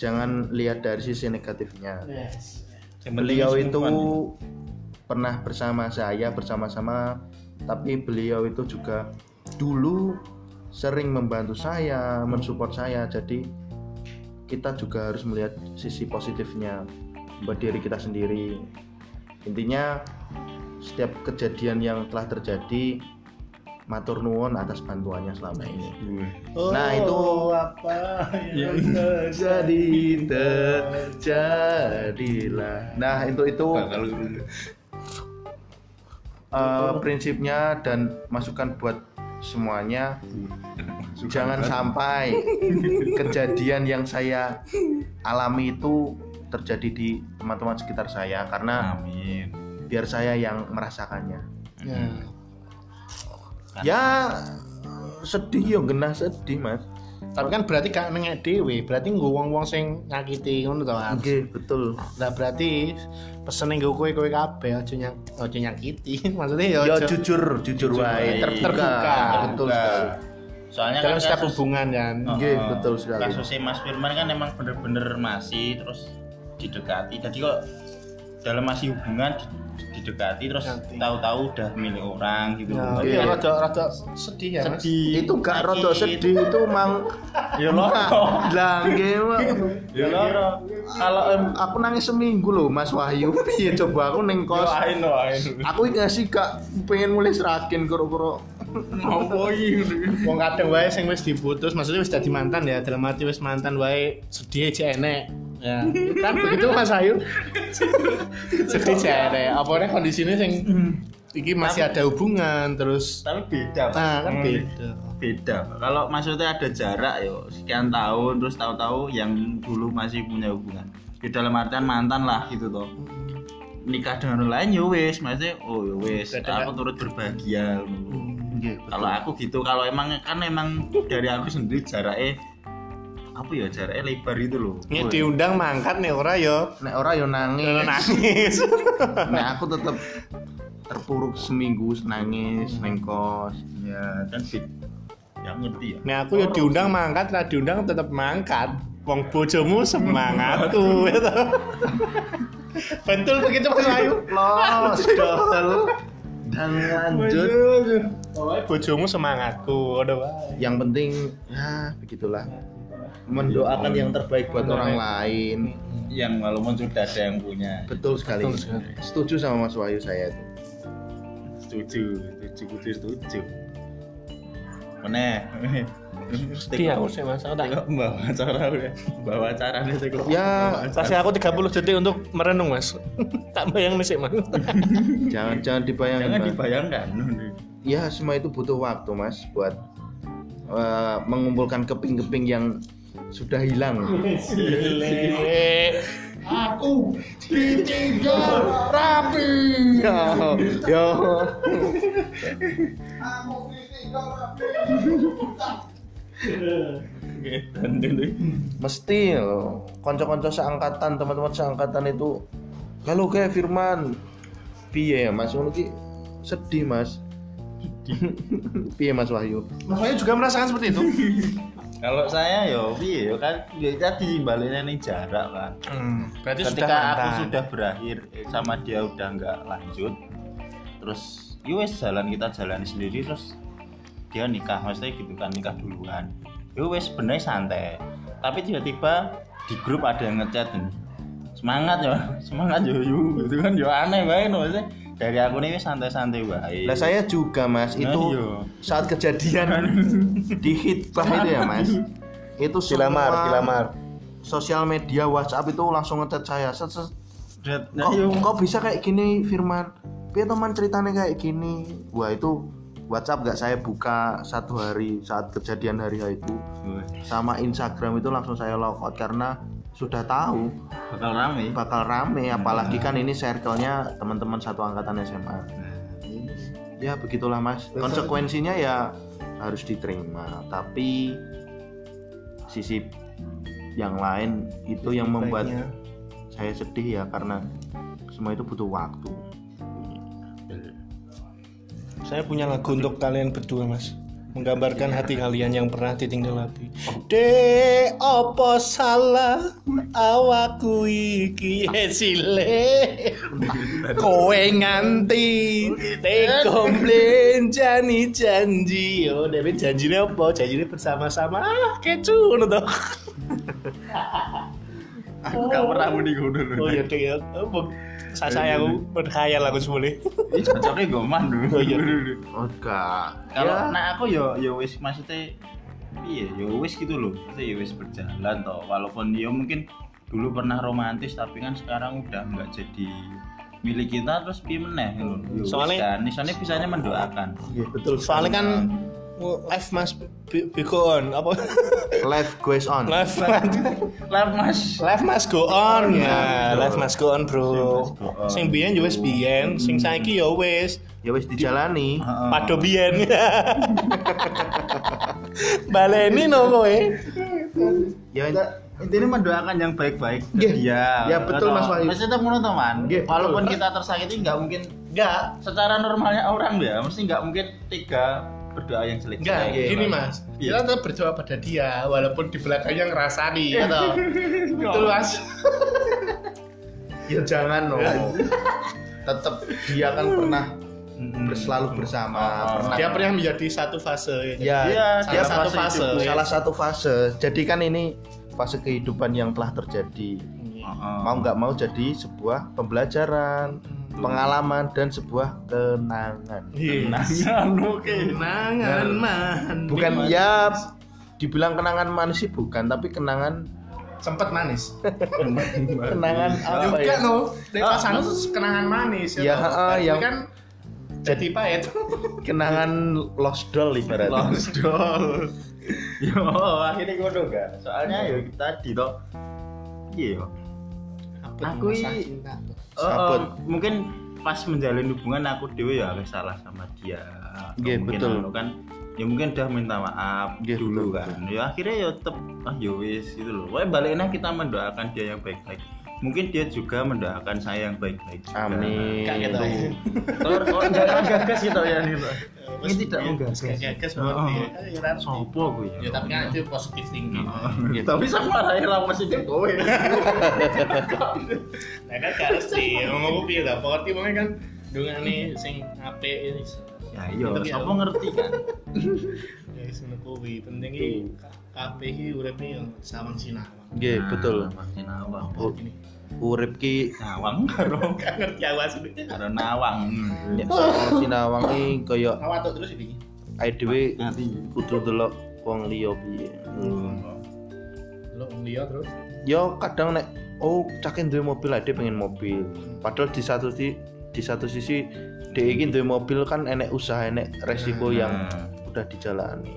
[SPEAKER 3] jangan lihat dari sisi negatifnya
[SPEAKER 1] yes.
[SPEAKER 2] *laughs* Yang penting kan.
[SPEAKER 3] beliau
[SPEAKER 2] wis
[SPEAKER 3] itu
[SPEAKER 2] move on, ya.
[SPEAKER 3] pernah bersama saya bersama-sama tapi beliau itu juga dulu sering membantu saya mensupport saya jadi kita juga harus melihat sisi positifnya buat diri kita sendiri intinya setiap kejadian yang telah terjadi matur nuwun atas bantuannya selama ini Nah, itu-
[SPEAKER 1] Oh, apa Ya, yang
[SPEAKER 3] jadi terjadilah nah itu itu
[SPEAKER 2] Bakal
[SPEAKER 3] eh, prinsipnya dan masukan buat semuanya jangan sampai kejadian yang saya alami itu terjadi di teman-teman sekitar saya
[SPEAKER 2] Nah.
[SPEAKER 3] karena
[SPEAKER 2] Amin.
[SPEAKER 3] biar saya yang merasakannya
[SPEAKER 1] Ya.
[SPEAKER 3] ya sedih yo genah sedih mas
[SPEAKER 1] Tapi kan berarti gak nengek dhewe, berarti nggo wong-wong sing nyakiti ngono to, Mas.
[SPEAKER 3] oke betul
[SPEAKER 1] Lah berarti pesene nggo kowe-kowe kabeh aja nyak aja nyakiti. *laughs* Maksudnya ya
[SPEAKER 3] ya
[SPEAKER 1] aja
[SPEAKER 3] jujur jujur
[SPEAKER 2] wae.
[SPEAKER 3] wae terbuka,
[SPEAKER 1] Terbuka.
[SPEAKER 3] betul sekali
[SPEAKER 2] Soalnya
[SPEAKER 1] dalam
[SPEAKER 2] kan
[SPEAKER 1] setiap
[SPEAKER 2] kasus-
[SPEAKER 1] hubungan kan.
[SPEAKER 2] Oh,
[SPEAKER 3] Iya,
[SPEAKER 2] oh.
[SPEAKER 3] betul sekali.
[SPEAKER 2] Kasusnya Mas Firman kan emang bener-bener masih terus didekati. Jadi kok dalam masih hubungan di- didekati terus
[SPEAKER 1] Didekati.
[SPEAKER 2] tahu-tahu udah milik orang gitu.
[SPEAKER 1] Ya,
[SPEAKER 2] Tapi
[SPEAKER 1] iya,
[SPEAKER 2] ya
[SPEAKER 1] rada rada sedih ya, Mas.
[SPEAKER 2] sedih.
[SPEAKER 3] itu gak rada
[SPEAKER 2] sakit.
[SPEAKER 3] sedih itu mang
[SPEAKER 2] Ya loro.
[SPEAKER 3] *laughs* lah nggih, Mak.
[SPEAKER 1] *laughs*
[SPEAKER 2] Ya loro.
[SPEAKER 3] kalau em, aku nangis seminggu loh Mas Wahyu piye coba aku neng kos
[SPEAKER 2] Doain doain.
[SPEAKER 3] aku iki ngasih gak pengen mulai serakin koro-koro
[SPEAKER 2] Ngopo
[SPEAKER 3] gitu.
[SPEAKER 2] iki?
[SPEAKER 1] Wong kadang wae sing wis diputus, maksudnya wis dadi mantan ya, dalam arti wis mantan wae sedih aja enek. Ya, kan begitu Mas Ayu. sedih aja enek. Apa nih kondisinya sing iki masih ada hubungan terus
[SPEAKER 2] Tapi beda. Pak.
[SPEAKER 1] nah kan
[SPEAKER 2] Hmm.
[SPEAKER 1] beda.
[SPEAKER 2] beda Pak. kalau maksudnya ada jarak yo sekian tahun terus tahu-tahu yang dulu masih punya hubungan ya dalam artian mantan lah gitu toh nikah dengan orang lain yo wis maksudnya oh yo wis
[SPEAKER 1] Beda,
[SPEAKER 2] aku turut berbahagia ngono.
[SPEAKER 3] nggih
[SPEAKER 2] kalau aku gitu kalau emang kan emang dari aku sendiri jaraknya apa ya jaraknya lebar itu loh
[SPEAKER 1] Ini diundang mangkat nih ora yo.
[SPEAKER 3] nek ora yo nangis
[SPEAKER 1] Nangis.
[SPEAKER 3] *laughs* nek aku tetep terpuruk seminggu nangis neng kos
[SPEAKER 2] ya kan sih ya ngerti ya
[SPEAKER 1] Nah aku ya diundang mangkat, lah diundang tetap mangkat. Wong bojomu semangat tuh. gitu. Betul begitu Mas Ayu.
[SPEAKER 3] los
[SPEAKER 1] Iya.
[SPEAKER 3] dol dan lanjut
[SPEAKER 1] Pokoknya bojomu semangatku, udah wae.
[SPEAKER 3] yang penting ya begitulah mendoakan yang terbaik buat orang lain
[SPEAKER 2] yang walaupun sudah ada yang punya
[SPEAKER 3] betul sekali
[SPEAKER 1] Betul sekali.
[SPEAKER 3] setuju sama Mas Wahyu saya itu
[SPEAKER 2] setuju setuju setuju setuju meneh
[SPEAKER 1] Sedih Iya, aku sih Mas, aku tak
[SPEAKER 2] Tengok bawa acara udah bawa acara nih tengok
[SPEAKER 3] Ya,
[SPEAKER 2] Bawa acara.
[SPEAKER 1] Kasih aku 30 detik untuk merenung mas *laughs* Tak bayang nih sih mas
[SPEAKER 3] jangan jangan dibayangkan
[SPEAKER 2] jangan
[SPEAKER 3] Mas.
[SPEAKER 2] dibayangkan
[SPEAKER 3] ya semua itu butuh waktu mas buat eh, mengumpulkan keping-keping yang sudah hilang
[SPEAKER 1] Iya. Aku ditinggal rapi
[SPEAKER 3] ya
[SPEAKER 2] Iya,
[SPEAKER 3] ya
[SPEAKER 2] Oke, dan dulu
[SPEAKER 3] mesti loh konco-konco seangkatan teman-teman seangkatan itu kalau kayak Firman piye ya mas ngono ki sedih mas *laughs* piye mas Wahyu
[SPEAKER 1] Makanya juga merasakan seperti itu
[SPEAKER 2] kalau saya yo piye yo kan ya tadi baliknya nih jarak kan
[SPEAKER 1] Hmm, Berarti
[SPEAKER 2] ketika aku sudah berakhir eh, sama dia udah nggak lanjut terus yowes jalan kita jalani sendiri terus dia nikah maksudnya gitu kan nikah duluan yowes bener santai tapi tiba-tiba di grup ada yang ngechat nih semangat ya *laughs* semangat yo yo gitu kan yo aneh banget maksudnya dari aku nih wes santai-santai baik
[SPEAKER 3] lah saya juga mas
[SPEAKER 2] Nah,
[SPEAKER 3] itu
[SPEAKER 2] iya.
[SPEAKER 3] saat
[SPEAKER 2] *laughs*
[SPEAKER 3] kejadian di hitbah itu ya mas
[SPEAKER 2] Iya.
[SPEAKER 3] itu
[SPEAKER 1] Dilamar,
[SPEAKER 3] semua
[SPEAKER 1] dilamar.
[SPEAKER 3] sosial media WhatsApp itu langsung ngechat saya set, set,
[SPEAKER 2] Drat- nah,
[SPEAKER 3] kok,
[SPEAKER 2] yo.
[SPEAKER 3] kok bisa kayak gini Firman Piye teman ceritanya kayak gini wah itu WhatsApp gak saya buka satu hari saat kejadian hari itu sama Instagram itu langsung saya logout karena sudah tahu
[SPEAKER 2] bakal rame
[SPEAKER 3] bakal rame apalagi kan ini circle-nya teman-teman satu angkatan SMA
[SPEAKER 2] Nah,
[SPEAKER 3] ya begitulah mas konsekuensinya ya harus diterima tapi sisi yang lain itu yang membuat saya sedih ya karena semua itu butuh waktu
[SPEAKER 1] Saya punya lagu untuk kalian berdua mas menggambarkan hati
[SPEAKER 2] Iya.
[SPEAKER 1] kalian yang pernah
[SPEAKER 2] Oh.
[SPEAKER 1] ditinggal api. De opo salah awakku iki
[SPEAKER 2] *laughs*
[SPEAKER 1] esile kowe nganti teko jani janji yo dewe janjine opo janjine bersama-sama ah kecu ngono to
[SPEAKER 2] aku gak pernah muni ngono lho Iya,
[SPEAKER 1] oh ya dek ya Opo? sasa aku berkhayal aku semule
[SPEAKER 2] Ini cocoknya goman dulu
[SPEAKER 1] Oh, iya.
[SPEAKER 3] oh enggak
[SPEAKER 2] kalau
[SPEAKER 3] ya,
[SPEAKER 2] nah aku yo yo wis maksudnya iya yo wis gitu loh maksudnya yo wis berjalan toh walaupun yo mungkin dulu pernah romantis tapi kan sekarang udah nggak jadi milik kita terus piye meneh gitu lho.
[SPEAKER 1] Soalnya-
[SPEAKER 2] kan isane bisanya mendoakan.
[SPEAKER 3] Iya, betul.
[SPEAKER 1] Soalnya kan live mas be, be go on *laughs* apa
[SPEAKER 3] Life goes on.
[SPEAKER 1] live
[SPEAKER 2] Lah Mas.
[SPEAKER 1] live mas go on ya
[SPEAKER 3] Bro.
[SPEAKER 1] live mas go on bro
[SPEAKER 2] Life must go on.
[SPEAKER 1] sing biyen yo wis biyen sing saiki yo wis
[SPEAKER 3] Ya wis dijalani.
[SPEAKER 2] Heeh.
[SPEAKER 1] padha biyen *laughs* baleni no kowe
[SPEAKER 3] Ya
[SPEAKER 2] Kita intinya mendoakan yang baik-baik ke
[SPEAKER 3] Nggih.
[SPEAKER 2] dia.
[SPEAKER 3] Ya, betul, Mas Wahyu.
[SPEAKER 2] Mesti tetap ngono to, Man.
[SPEAKER 3] Nggih, betul.
[SPEAKER 2] Walaupun kita tersakiti nggak mungkin nggak secara normalnya orang ya, mesti nggak mungkin tiga berdoa yang Iya. jelek.
[SPEAKER 1] Enggak,
[SPEAKER 2] Jelek.
[SPEAKER 1] gini mas Kita tetap berdoa pada dia Walaupun di belakangnya ngerasani ya *laughs* toh. Betul mas
[SPEAKER 3] ya jangan loh. Tetap dia kan pernah
[SPEAKER 2] Mm-mm.
[SPEAKER 3] ber- selalu bersama,
[SPEAKER 2] Oh.
[SPEAKER 3] Hmm. pernah
[SPEAKER 1] Dia pernah menjadi satu fase ya.
[SPEAKER 3] Ya,
[SPEAKER 2] Iya,
[SPEAKER 1] Dia
[SPEAKER 2] dia
[SPEAKER 1] satu
[SPEAKER 2] fase
[SPEAKER 1] fase
[SPEAKER 2] hidup.
[SPEAKER 1] ya.
[SPEAKER 3] salah satu fase. Jadi kan ini fase kehidupan yang telah terjadi.
[SPEAKER 2] Heeh.
[SPEAKER 3] Mau nggak mau jadi sebuah pembelajaran, pengalaman dan sebuah Hmm. kenangan.
[SPEAKER 1] Iya.
[SPEAKER 2] Kenangan, oke.
[SPEAKER 1] Kenangan manis
[SPEAKER 3] Bukan ya dibilang kenangan manis sih bukan, tapi kenangan
[SPEAKER 1] Sempet manis
[SPEAKER 3] kenangan apa
[SPEAKER 1] Juga
[SPEAKER 3] ya?
[SPEAKER 1] no Dari
[SPEAKER 2] Ah,
[SPEAKER 1] pasangan tuh kenangan manis
[SPEAKER 3] Ya,
[SPEAKER 1] toh.
[SPEAKER 3] ah,
[SPEAKER 1] Tapi
[SPEAKER 3] yang-
[SPEAKER 1] kan jadi *laughs* pahit
[SPEAKER 3] Kenangan lost doll ibaratnya.
[SPEAKER 2] Lost doll. Yo, akhirnya gue dong gak. Soalnya yo tadi toh. Iya. yo. Aku i- Eh,
[SPEAKER 3] Sabun.
[SPEAKER 2] eh, mungkin pas menjalin hubungan aku dewe ya agak salah sama dia.
[SPEAKER 3] Iya,
[SPEAKER 2] Mungkin
[SPEAKER 3] betul.
[SPEAKER 2] anu kan ya mungkin udah minta maaf
[SPEAKER 3] Iya,
[SPEAKER 2] dulu
[SPEAKER 3] betul,
[SPEAKER 2] kan. Ya akhirnya ya tetep ah ya wis gitu loh. Wah, baliknya kita mendoakan dia yang baik-baik. Mungkin dia juga mendoakan saya yang baik-baik. juga.
[SPEAKER 3] Amin.
[SPEAKER 1] Kayak gitu.
[SPEAKER 3] Tuh.
[SPEAKER 2] Terus kalau enggak gagas gitu ya nih.
[SPEAKER 1] Eh,
[SPEAKER 2] Ini
[SPEAKER 1] iya,
[SPEAKER 2] tidak Ah, menggagas.
[SPEAKER 1] Gagas berarti ya. Kan ya, harus-
[SPEAKER 2] Sopo gue ya.
[SPEAKER 1] Ya tapi kan itu positif tinggi
[SPEAKER 2] Heeh. Tapi saya marahin lah masih ya. Jokowi.
[SPEAKER 1] Nah kan gak harus
[SPEAKER 2] *laughs*
[SPEAKER 1] sih Ngomong gue lah Pokoknya pokoknya kan Dungan nih Sing HP ini
[SPEAKER 2] Ya iya,
[SPEAKER 1] Tapi ya.
[SPEAKER 2] sopo ngerti kan.
[SPEAKER 1] Ya sing kuwi penting iki kabeh iki uripe yo sawang sinawang.
[SPEAKER 3] Nggih, Iya, betul.
[SPEAKER 2] Pasti nawang.
[SPEAKER 1] Apa iki?
[SPEAKER 3] Urip ki
[SPEAKER 2] Nawang karo
[SPEAKER 1] Gak ngerti aku asli.
[SPEAKER 2] karo nawang.
[SPEAKER 3] Soal sinawang ki kaya
[SPEAKER 1] Ngawatuk terus iki.
[SPEAKER 3] awake dhewe
[SPEAKER 2] Nanti.
[SPEAKER 3] kudu delok wong liya piye.
[SPEAKER 1] Lu wong liya terus.
[SPEAKER 3] Ya kadang nek oh cake duwe mobil ade pengen mobil. Padahal di satu di, di satu sisi dhek iki duwe mobil kan enek usaha enek
[SPEAKER 2] Hmm.
[SPEAKER 3] resiko yang udah dijalani.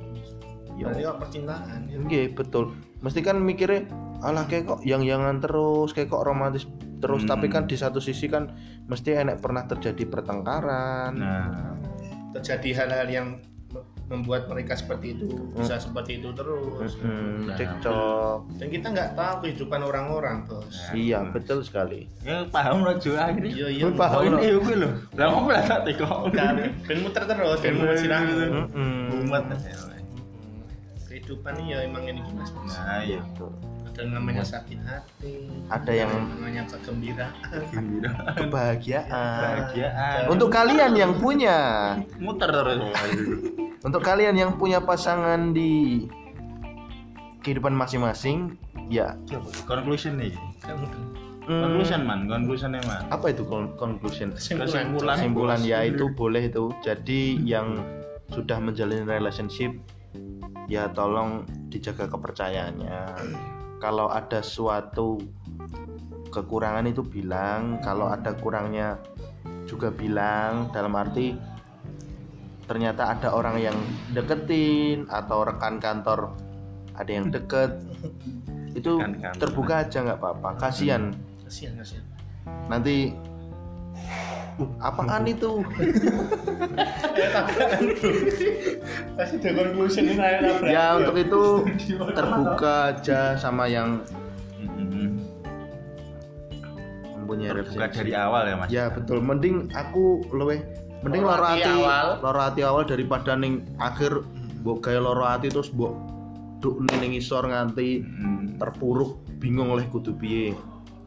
[SPEAKER 3] Ya.
[SPEAKER 1] Berarti kok percintaan. ya.
[SPEAKER 3] Nggih, betul. Mesti kan mikirnya alah kayak kok yang-yangan terus, kayak kok romantis terus,
[SPEAKER 2] Hmm.
[SPEAKER 3] tapi kan di satu sisi kan mesti enek pernah terjadi pertengkaran.
[SPEAKER 2] Nah,
[SPEAKER 1] Terjadi hal-hal yang me- membuat mereka seperti itu
[SPEAKER 3] Hmm.
[SPEAKER 1] bisa seperti itu terus
[SPEAKER 3] Mm-mm,
[SPEAKER 2] Nah.
[SPEAKER 3] cekcok.
[SPEAKER 1] dan kita nggak tahu kehidupan orang-orang bos
[SPEAKER 2] Nah.
[SPEAKER 3] Iya, betul sekali.
[SPEAKER 2] ya paham lo juga
[SPEAKER 3] Hmm.
[SPEAKER 2] akhirnya.
[SPEAKER 1] iya iya
[SPEAKER 3] Lu
[SPEAKER 2] Oh
[SPEAKER 3] paham. Paham,
[SPEAKER 2] ini ya gue lo. Lah mau lah tak teko.
[SPEAKER 3] *laughs*
[SPEAKER 1] Nggak, ben muter terus ben muter sinawang
[SPEAKER 3] Mm-mm.
[SPEAKER 2] Umat.
[SPEAKER 1] kehidupan iya emang ini mas Bos.
[SPEAKER 2] eh. Nah, iya.
[SPEAKER 3] Betul.
[SPEAKER 1] ada yang namanya sakit hati
[SPEAKER 3] Ada yang-
[SPEAKER 1] namanya kegembiraan
[SPEAKER 2] Gembira.
[SPEAKER 3] Kebahagiaan.
[SPEAKER 2] Bahagiaan.
[SPEAKER 3] Untuk kalian yang punya,
[SPEAKER 2] muter terus. iya.
[SPEAKER 3] untuk kalian yang punya pasangan di kehidupan masing-masing, ya.
[SPEAKER 2] Conclusion nih.
[SPEAKER 1] kamu
[SPEAKER 3] mm,
[SPEAKER 2] Conclusion man, conclusionnya man.
[SPEAKER 3] apa itu kon- conclusion?
[SPEAKER 1] kesimpulan
[SPEAKER 2] Kesimpulan.
[SPEAKER 3] Kesimpulan ya itu boleh itu. Jadi yang sudah menjalin relationship ya tolong dijaga kepercayaannya. Kalau ada suatu kekurangan itu bilang, kalau ada kurangnya juga bilang dalam arti ternyata ada orang yang deketin atau rekan kantor ada yang deket itu
[SPEAKER 2] Rekan kantor.
[SPEAKER 3] terbuka aja nggak apa-apa kasihan
[SPEAKER 1] kasihan kasihan
[SPEAKER 3] nanti apaan itu
[SPEAKER 1] *laughs* pasti the conclusion ini saya nabrak
[SPEAKER 3] ya untuk itu terbuka aja sama yang
[SPEAKER 2] Mm-mm.
[SPEAKER 3] mempunyai
[SPEAKER 2] Terbuka
[SPEAKER 3] relationship.
[SPEAKER 2] dari awal ya mas.
[SPEAKER 3] ya betul mending aku luweh mending
[SPEAKER 1] Loro
[SPEAKER 3] loro
[SPEAKER 1] hati
[SPEAKER 3] hati
[SPEAKER 1] awal.
[SPEAKER 3] loro hati awal daripada ning akhir mbok gawe loro hati terus mbok duk ning isor nganti
[SPEAKER 2] Mm.
[SPEAKER 3] terpuruk bingung oleh kudu piye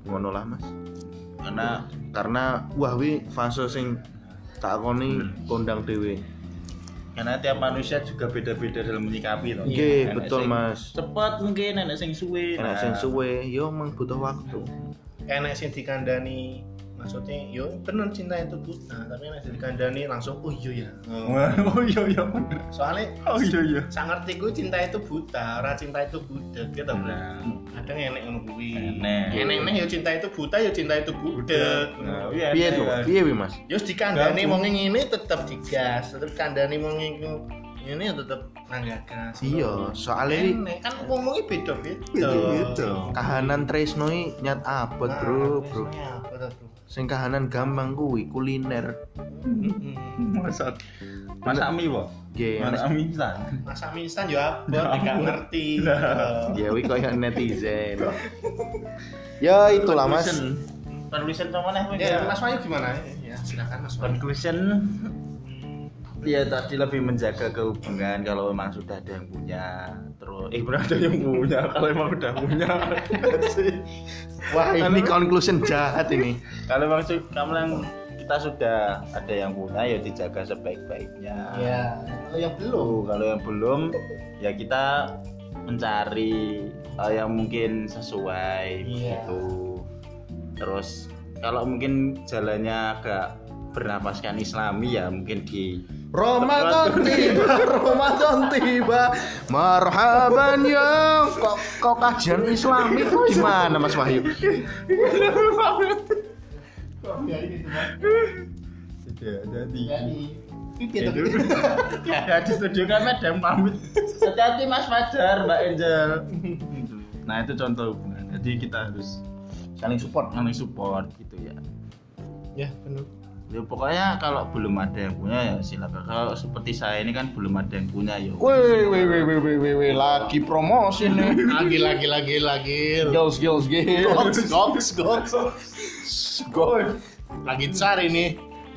[SPEAKER 3] ngono lah Mas
[SPEAKER 2] Karena
[SPEAKER 3] karena wah wi fase sing tak koni
[SPEAKER 2] Hmm.
[SPEAKER 3] kondang dhewe
[SPEAKER 2] karena tiap manusia juga beda-beda dalam menyikapi toh.
[SPEAKER 3] nggih
[SPEAKER 2] Enek
[SPEAKER 3] betul
[SPEAKER 2] sing
[SPEAKER 3] Mas
[SPEAKER 2] Cepet mungkin enak sing suwe.
[SPEAKER 3] enak
[SPEAKER 2] nah.
[SPEAKER 3] sing suwe yo emang butuh waktu
[SPEAKER 1] enek sing dikandani maksudnya yo bener cinta itu buta tapi enek sing dikandani langsung oh iya ya Oh.
[SPEAKER 2] *laughs* oh iya iya bener.
[SPEAKER 1] soalnya
[SPEAKER 2] oh iya iya
[SPEAKER 1] sang ngerti ku cinta itu buta ora cinta itu budak gitu bro ada enek ngono kuwi
[SPEAKER 2] Enek.
[SPEAKER 1] enek enek yo cinta itu buta yo cinta itu budak
[SPEAKER 2] Nah, iya,
[SPEAKER 3] piye
[SPEAKER 2] iya,
[SPEAKER 3] tuh
[SPEAKER 2] iya.
[SPEAKER 3] piye wi, mas
[SPEAKER 1] Yus dikandani
[SPEAKER 2] Gabung.
[SPEAKER 1] wong ini tetep digas, tetep kandani wong iku ini tetep nanggagas.
[SPEAKER 3] iya soalnya
[SPEAKER 1] Enek kan ngomongnya beda-beda.
[SPEAKER 3] Beda-beda. kahanan Tresno ini nyat abot
[SPEAKER 1] Nah,
[SPEAKER 3] bro bro
[SPEAKER 1] biasanya apa tuh, bro?
[SPEAKER 3] sing kahanan gampang kuwi kuliner
[SPEAKER 1] Hmm.
[SPEAKER 2] masak masak mie wah
[SPEAKER 3] Iya, iya.
[SPEAKER 2] masak mie instan
[SPEAKER 1] Masak mie instan yo abot, gak ngerti.
[SPEAKER 3] ya wi koyo netizen ya itulah mas
[SPEAKER 2] conclusion sama nih Win,
[SPEAKER 1] Ya,
[SPEAKER 2] ya.
[SPEAKER 1] Mas Wayu gimana? Ya, silakan Mas Wayu.
[SPEAKER 2] conclusion ya tadi lebih menjaga kehubungan kalau memang sudah ada yang punya terus eh berarti ada yang punya kalau memang udah punya
[SPEAKER 3] *laughs*
[SPEAKER 2] sih
[SPEAKER 3] wah ini
[SPEAKER 2] Anu.
[SPEAKER 3] conclusion jahat ini
[SPEAKER 2] kalau memang su- kamu yang kita sudah ada yang punya ya dijaga sebaik-baiknya
[SPEAKER 1] Ya, kalau yang belum
[SPEAKER 2] Tuh, kalau yang belum ya kita mencari eh, yang mungkin sesuai
[SPEAKER 1] Iya.
[SPEAKER 2] gitu terus kalau mungkin jalannya agak bernapaskan islami ya mungkin di
[SPEAKER 3] Ramadan tiba, Ramadan tiba. Marhaban ya. Kok kok kajian Islami kok gimana Mas Wahyu?
[SPEAKER 1] jadi gitu Mas.
[SPEAKER 2] tidak jadi
[SPEAKER 1] Jadi pipi tuh.
[SPEAKER 2] *laughs* ya di studio kami ada yang pamit hati-hati mas Fajar mbak Angel nah itu contoh hubungan jadi kita harus saling support saling support gitu ya
[SPEAKER 1] Ya, benar.
[SPEAKER 2] ya pokoknya kalau belum ada yang punya ya silakan kalau seperti saya ini kan belum ada yang punya ya
[SPEAKER 3] Woi, woi, woi, woi, woi, woi, lagi promosi nih.
[SPEAKER 1] Lagi lagi lagi lagi.
[SPEAKER 3] Girls, girls, girls.
[SPEAKER 2] *laughs*
[SPEAKER 1] Goks, goks, goks.
[SPEAKER 3] Go.
[SPEAKER 1] Lagi cari nih.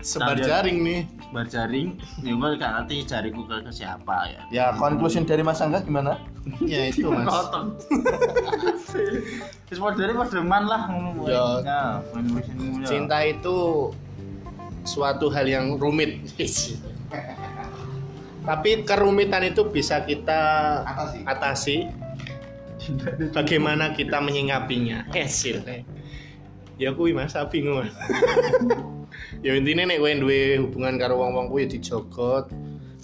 [SPEAKER 1] Sebar
[SPEAKER 2] Sambil-
[SPEAKER 1] jaring nih.
[SPEAKER 2] berjaring ya gue gak ngerti jariku ke, ke siapa ya
[SPEAKER 3] Ya, conclusion dari Mas Angga gimana?
[SPEAKER 1] Ya itu Mas.
[SPEAKER 2] Kotor. Terus modelnya modeman lah ngomong.
[SPEAKER 1] Ya.
[SPEAKER 2] Ya, main-main.
[SPEAKER 1] Cinta itu suatu hal yang rumit. Tapi kerumitan itu bisa kita
[SPEAKER 3] Atasi.
[SPEAKER 1] atasi
[SPEAKER 2] Cinta itu
[SPEAKER 1] bagaimana kita menyingkapinya. Esil. Ya kuwi Mas, aku bingung Mas. ya intinya nek kowe duwe hubungan karo wong-wong kuwi ya dijogot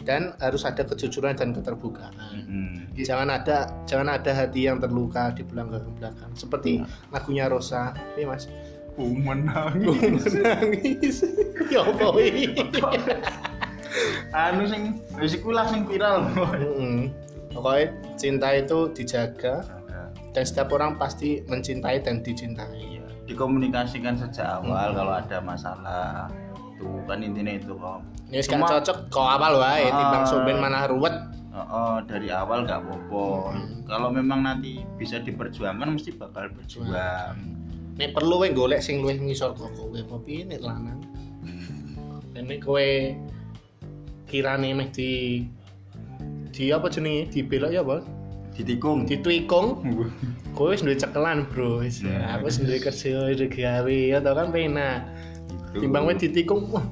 [SPEAKER 1] dan harus ada kejujuran dan keterbukaan.
[SPEAKER 2] Hmm.
[SPEAKER 1] jangan ada jangan ada hati yang terluka di belakang belakang seperti lagunya Rosa ini mas
[SPEAKER 2] Ku menangis.
[SPEAKER 1] nangis ya apa ini?
[SPEAKER 2] *laughs* Anu sing wis iku lah sing viral.
[SPEAKER 1] Mm-mm. pokoknya cinta itu dijaga dan setiap orang pasti mencintai dan dicintai
[SPEAKER 2] Iya, dikomunikasikan sejak awal
[SPEAKER 1] Hmm.
[SPEAKER 2] kalau ada masalah. Tuh kan intinya itu kok.
[SPEAKER 1] ini sekarang
[SPEAKER 2] Cuma-
[SPEAKER 1] Ya cocok kok awal wae
[SPEAKER 2] Ah.
[SPEAKER 1] timbang soben mana ruwet
[SPEAKER 2] Oh, oh, dari awal gak apa-apa.
[SPEAKER 1] Hmm.
[SPEAKER 2] Kalau memang nanti bisa diperjuangkan mesti bakal
[SPEAKER 1] Hmm.
[SPEAKER 2] berjuang.
[SPEAKER 1] nek perlu wae golek sing luwih ngisor kok kowe apa piye nek
[SPEAKER 2] *laughs*
[SPEAKER 1] lanang dan nek kowe kirane meh di di apa jenenge dibelok ya apa
[SPEAKER 2] Ditikung.
[SPEAKER 1] ditwikung kowe wis duwe cekelan bro wis
[SPEAKER 2] Ya.
[SPEAKER 1] aku wis duwe kerja wis duwe gawe ya tau kan penak timbang kowe ditikung wah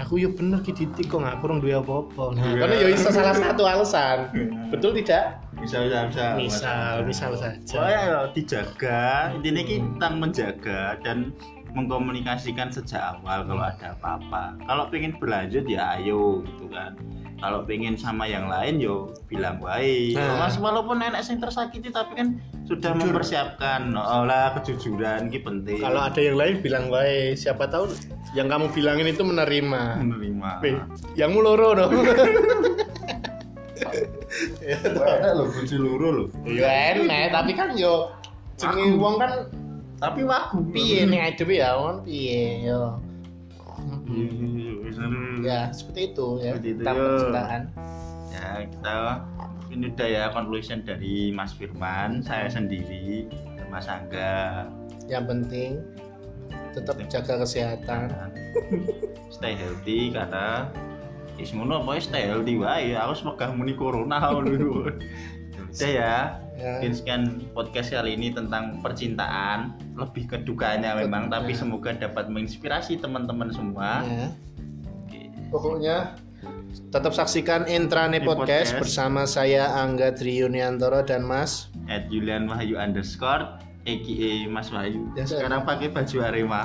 [SPEAKER 1] aku yo bener ki ditikung aku rong duwe apa-apa nah
[SPEAKER 2] Iya.
[SPEAKER 1] karena yo iso salah satu alasan betul tidak
[SPEAKER 2] bisa bisa bisa.
[SPEAKER 1] misal misal
[SPEAKER 2] Oh
[SPEAKER 1] saja
[SPEAKER 2] ya, ya, dijaga. Intinya kita tentang menjaga dan mengkomunikasikan sejak awal kalau
[SPEAKER 1] Hmm.
[SPEAKER 2] ada apa-apa. Kalau pengen berlanjut ya ayo gitu kan. Kalau pengen sama yang lain yo bilang baik.
[SPEAKER 1] Nah.
[SPEAKER 2] Mas walaupun nenek yang tersakiti tapi kan sudah mempersiapkan. Oh lah kejujuran ini penting.
[SPEAKER 1] kalau ada yang lain bilang wae siapa tahu yang kamu bilangin itu menerima
[SPEAKER 2] menerima.
[SPEAKER 1] Weh, yang mu loro *laughs* dong
[SPEAKER 2] Enak loh bojo loro loh.
[SPEAKER 1] yo enak tapi kan yo jenenge wong kan
[SPEAKER 2] Tapi wagu.
[SPEAKER 1] piye nek adewe ya wong piye yo
[SPEAKER 2] Iya, iya, iya.
[SPEAKER 1] ya seperti itu ya
[SPEAKER 2] Seperti itu,
[SPEAKER 1] tentang
[SPEAKER 2] yo.
[SPEAKER 1] percintaan
[SPEAKER 2] ya kita ini udah ya conclusion dari Mas Firman saya sendiri Mas Angga
[SPEAKER 1] yang penting tetap jaga kesehatan
[SPEAKER 2] stay healthy karena ya semuanya apa ya, stay healthy wae aku semoga muni corona dulu udah ya
[SPEAKER 1] Ya.
[SPEAKER 2] mungkin sekian podcast kali ini tentang percintaan lebih ke dukanya memang tapi semoga dapat menginspirasi teman-teman semua
[SPEAKER 1] Ya.
[SPEAKER 2] Oke.
[SPEAKER 1] pokoknya tetap saksikan Intrane
[SPEAKER 2] Di
[SPEAKER 1] Podcast,
[SPEAKER 2] podcast.
[SPEAKER 1] bersama saya Angga Triuniantoro dan Mas
[SPEAKER 2] at Julian Wahyu underscore EKE Mas Wahyu
[SPEAKER 3] Ya, saya-
[SPEAKER 2] sekarang pakai baju
[SPEAKER 3] *laughs*
[SPEAKER 2] Arema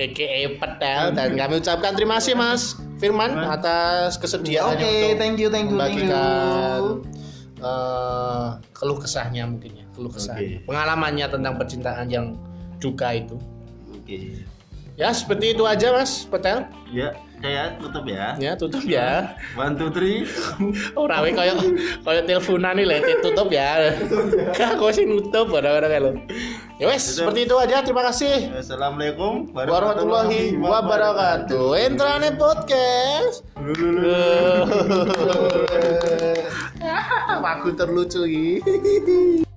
[SPEAKER 1] EKE Petel dan kami ucapkan terima kasih Mas Firman atas kesediaannya
[SPEAKER 3] Iya, Oke, thank you, thank you, thank you.
[SPEAKER 1] membagikan eh, keluh kesahnya mungkin ya, keluh kesahnya,
[SPEAKER 2] Oke.
[SPEAKER 1] pengalamannya tentang percintaan yang duka itu.
[SPEAKER 2] oke
[SPEAKER 1] Ya seperti itu aja Mas Petel.
[SPEAKER 2] ya saya tutup ya
[SPEAKER 1] Ya tutup ya. Oh,
[SPEAKER 2] one two
[SPEAKER 3] *laughs*
[SPEAKER 2] three
[SPEAKER 1] Ora koyo koyo koyo teleponan nih lho, tutup ya. Kak kok sih nutup ora-ora kayak lo. Ya wes,
[SPEAKER 2] Tutup.
[SPEAKER 1] seperti itu aja. Terima kasih.
[SPEAKER 2] assalamualaikum
[SPEAKER 1] warahmatullahi wabarakatuh. Entrane podcast. *laughs* Aku terlucu iki.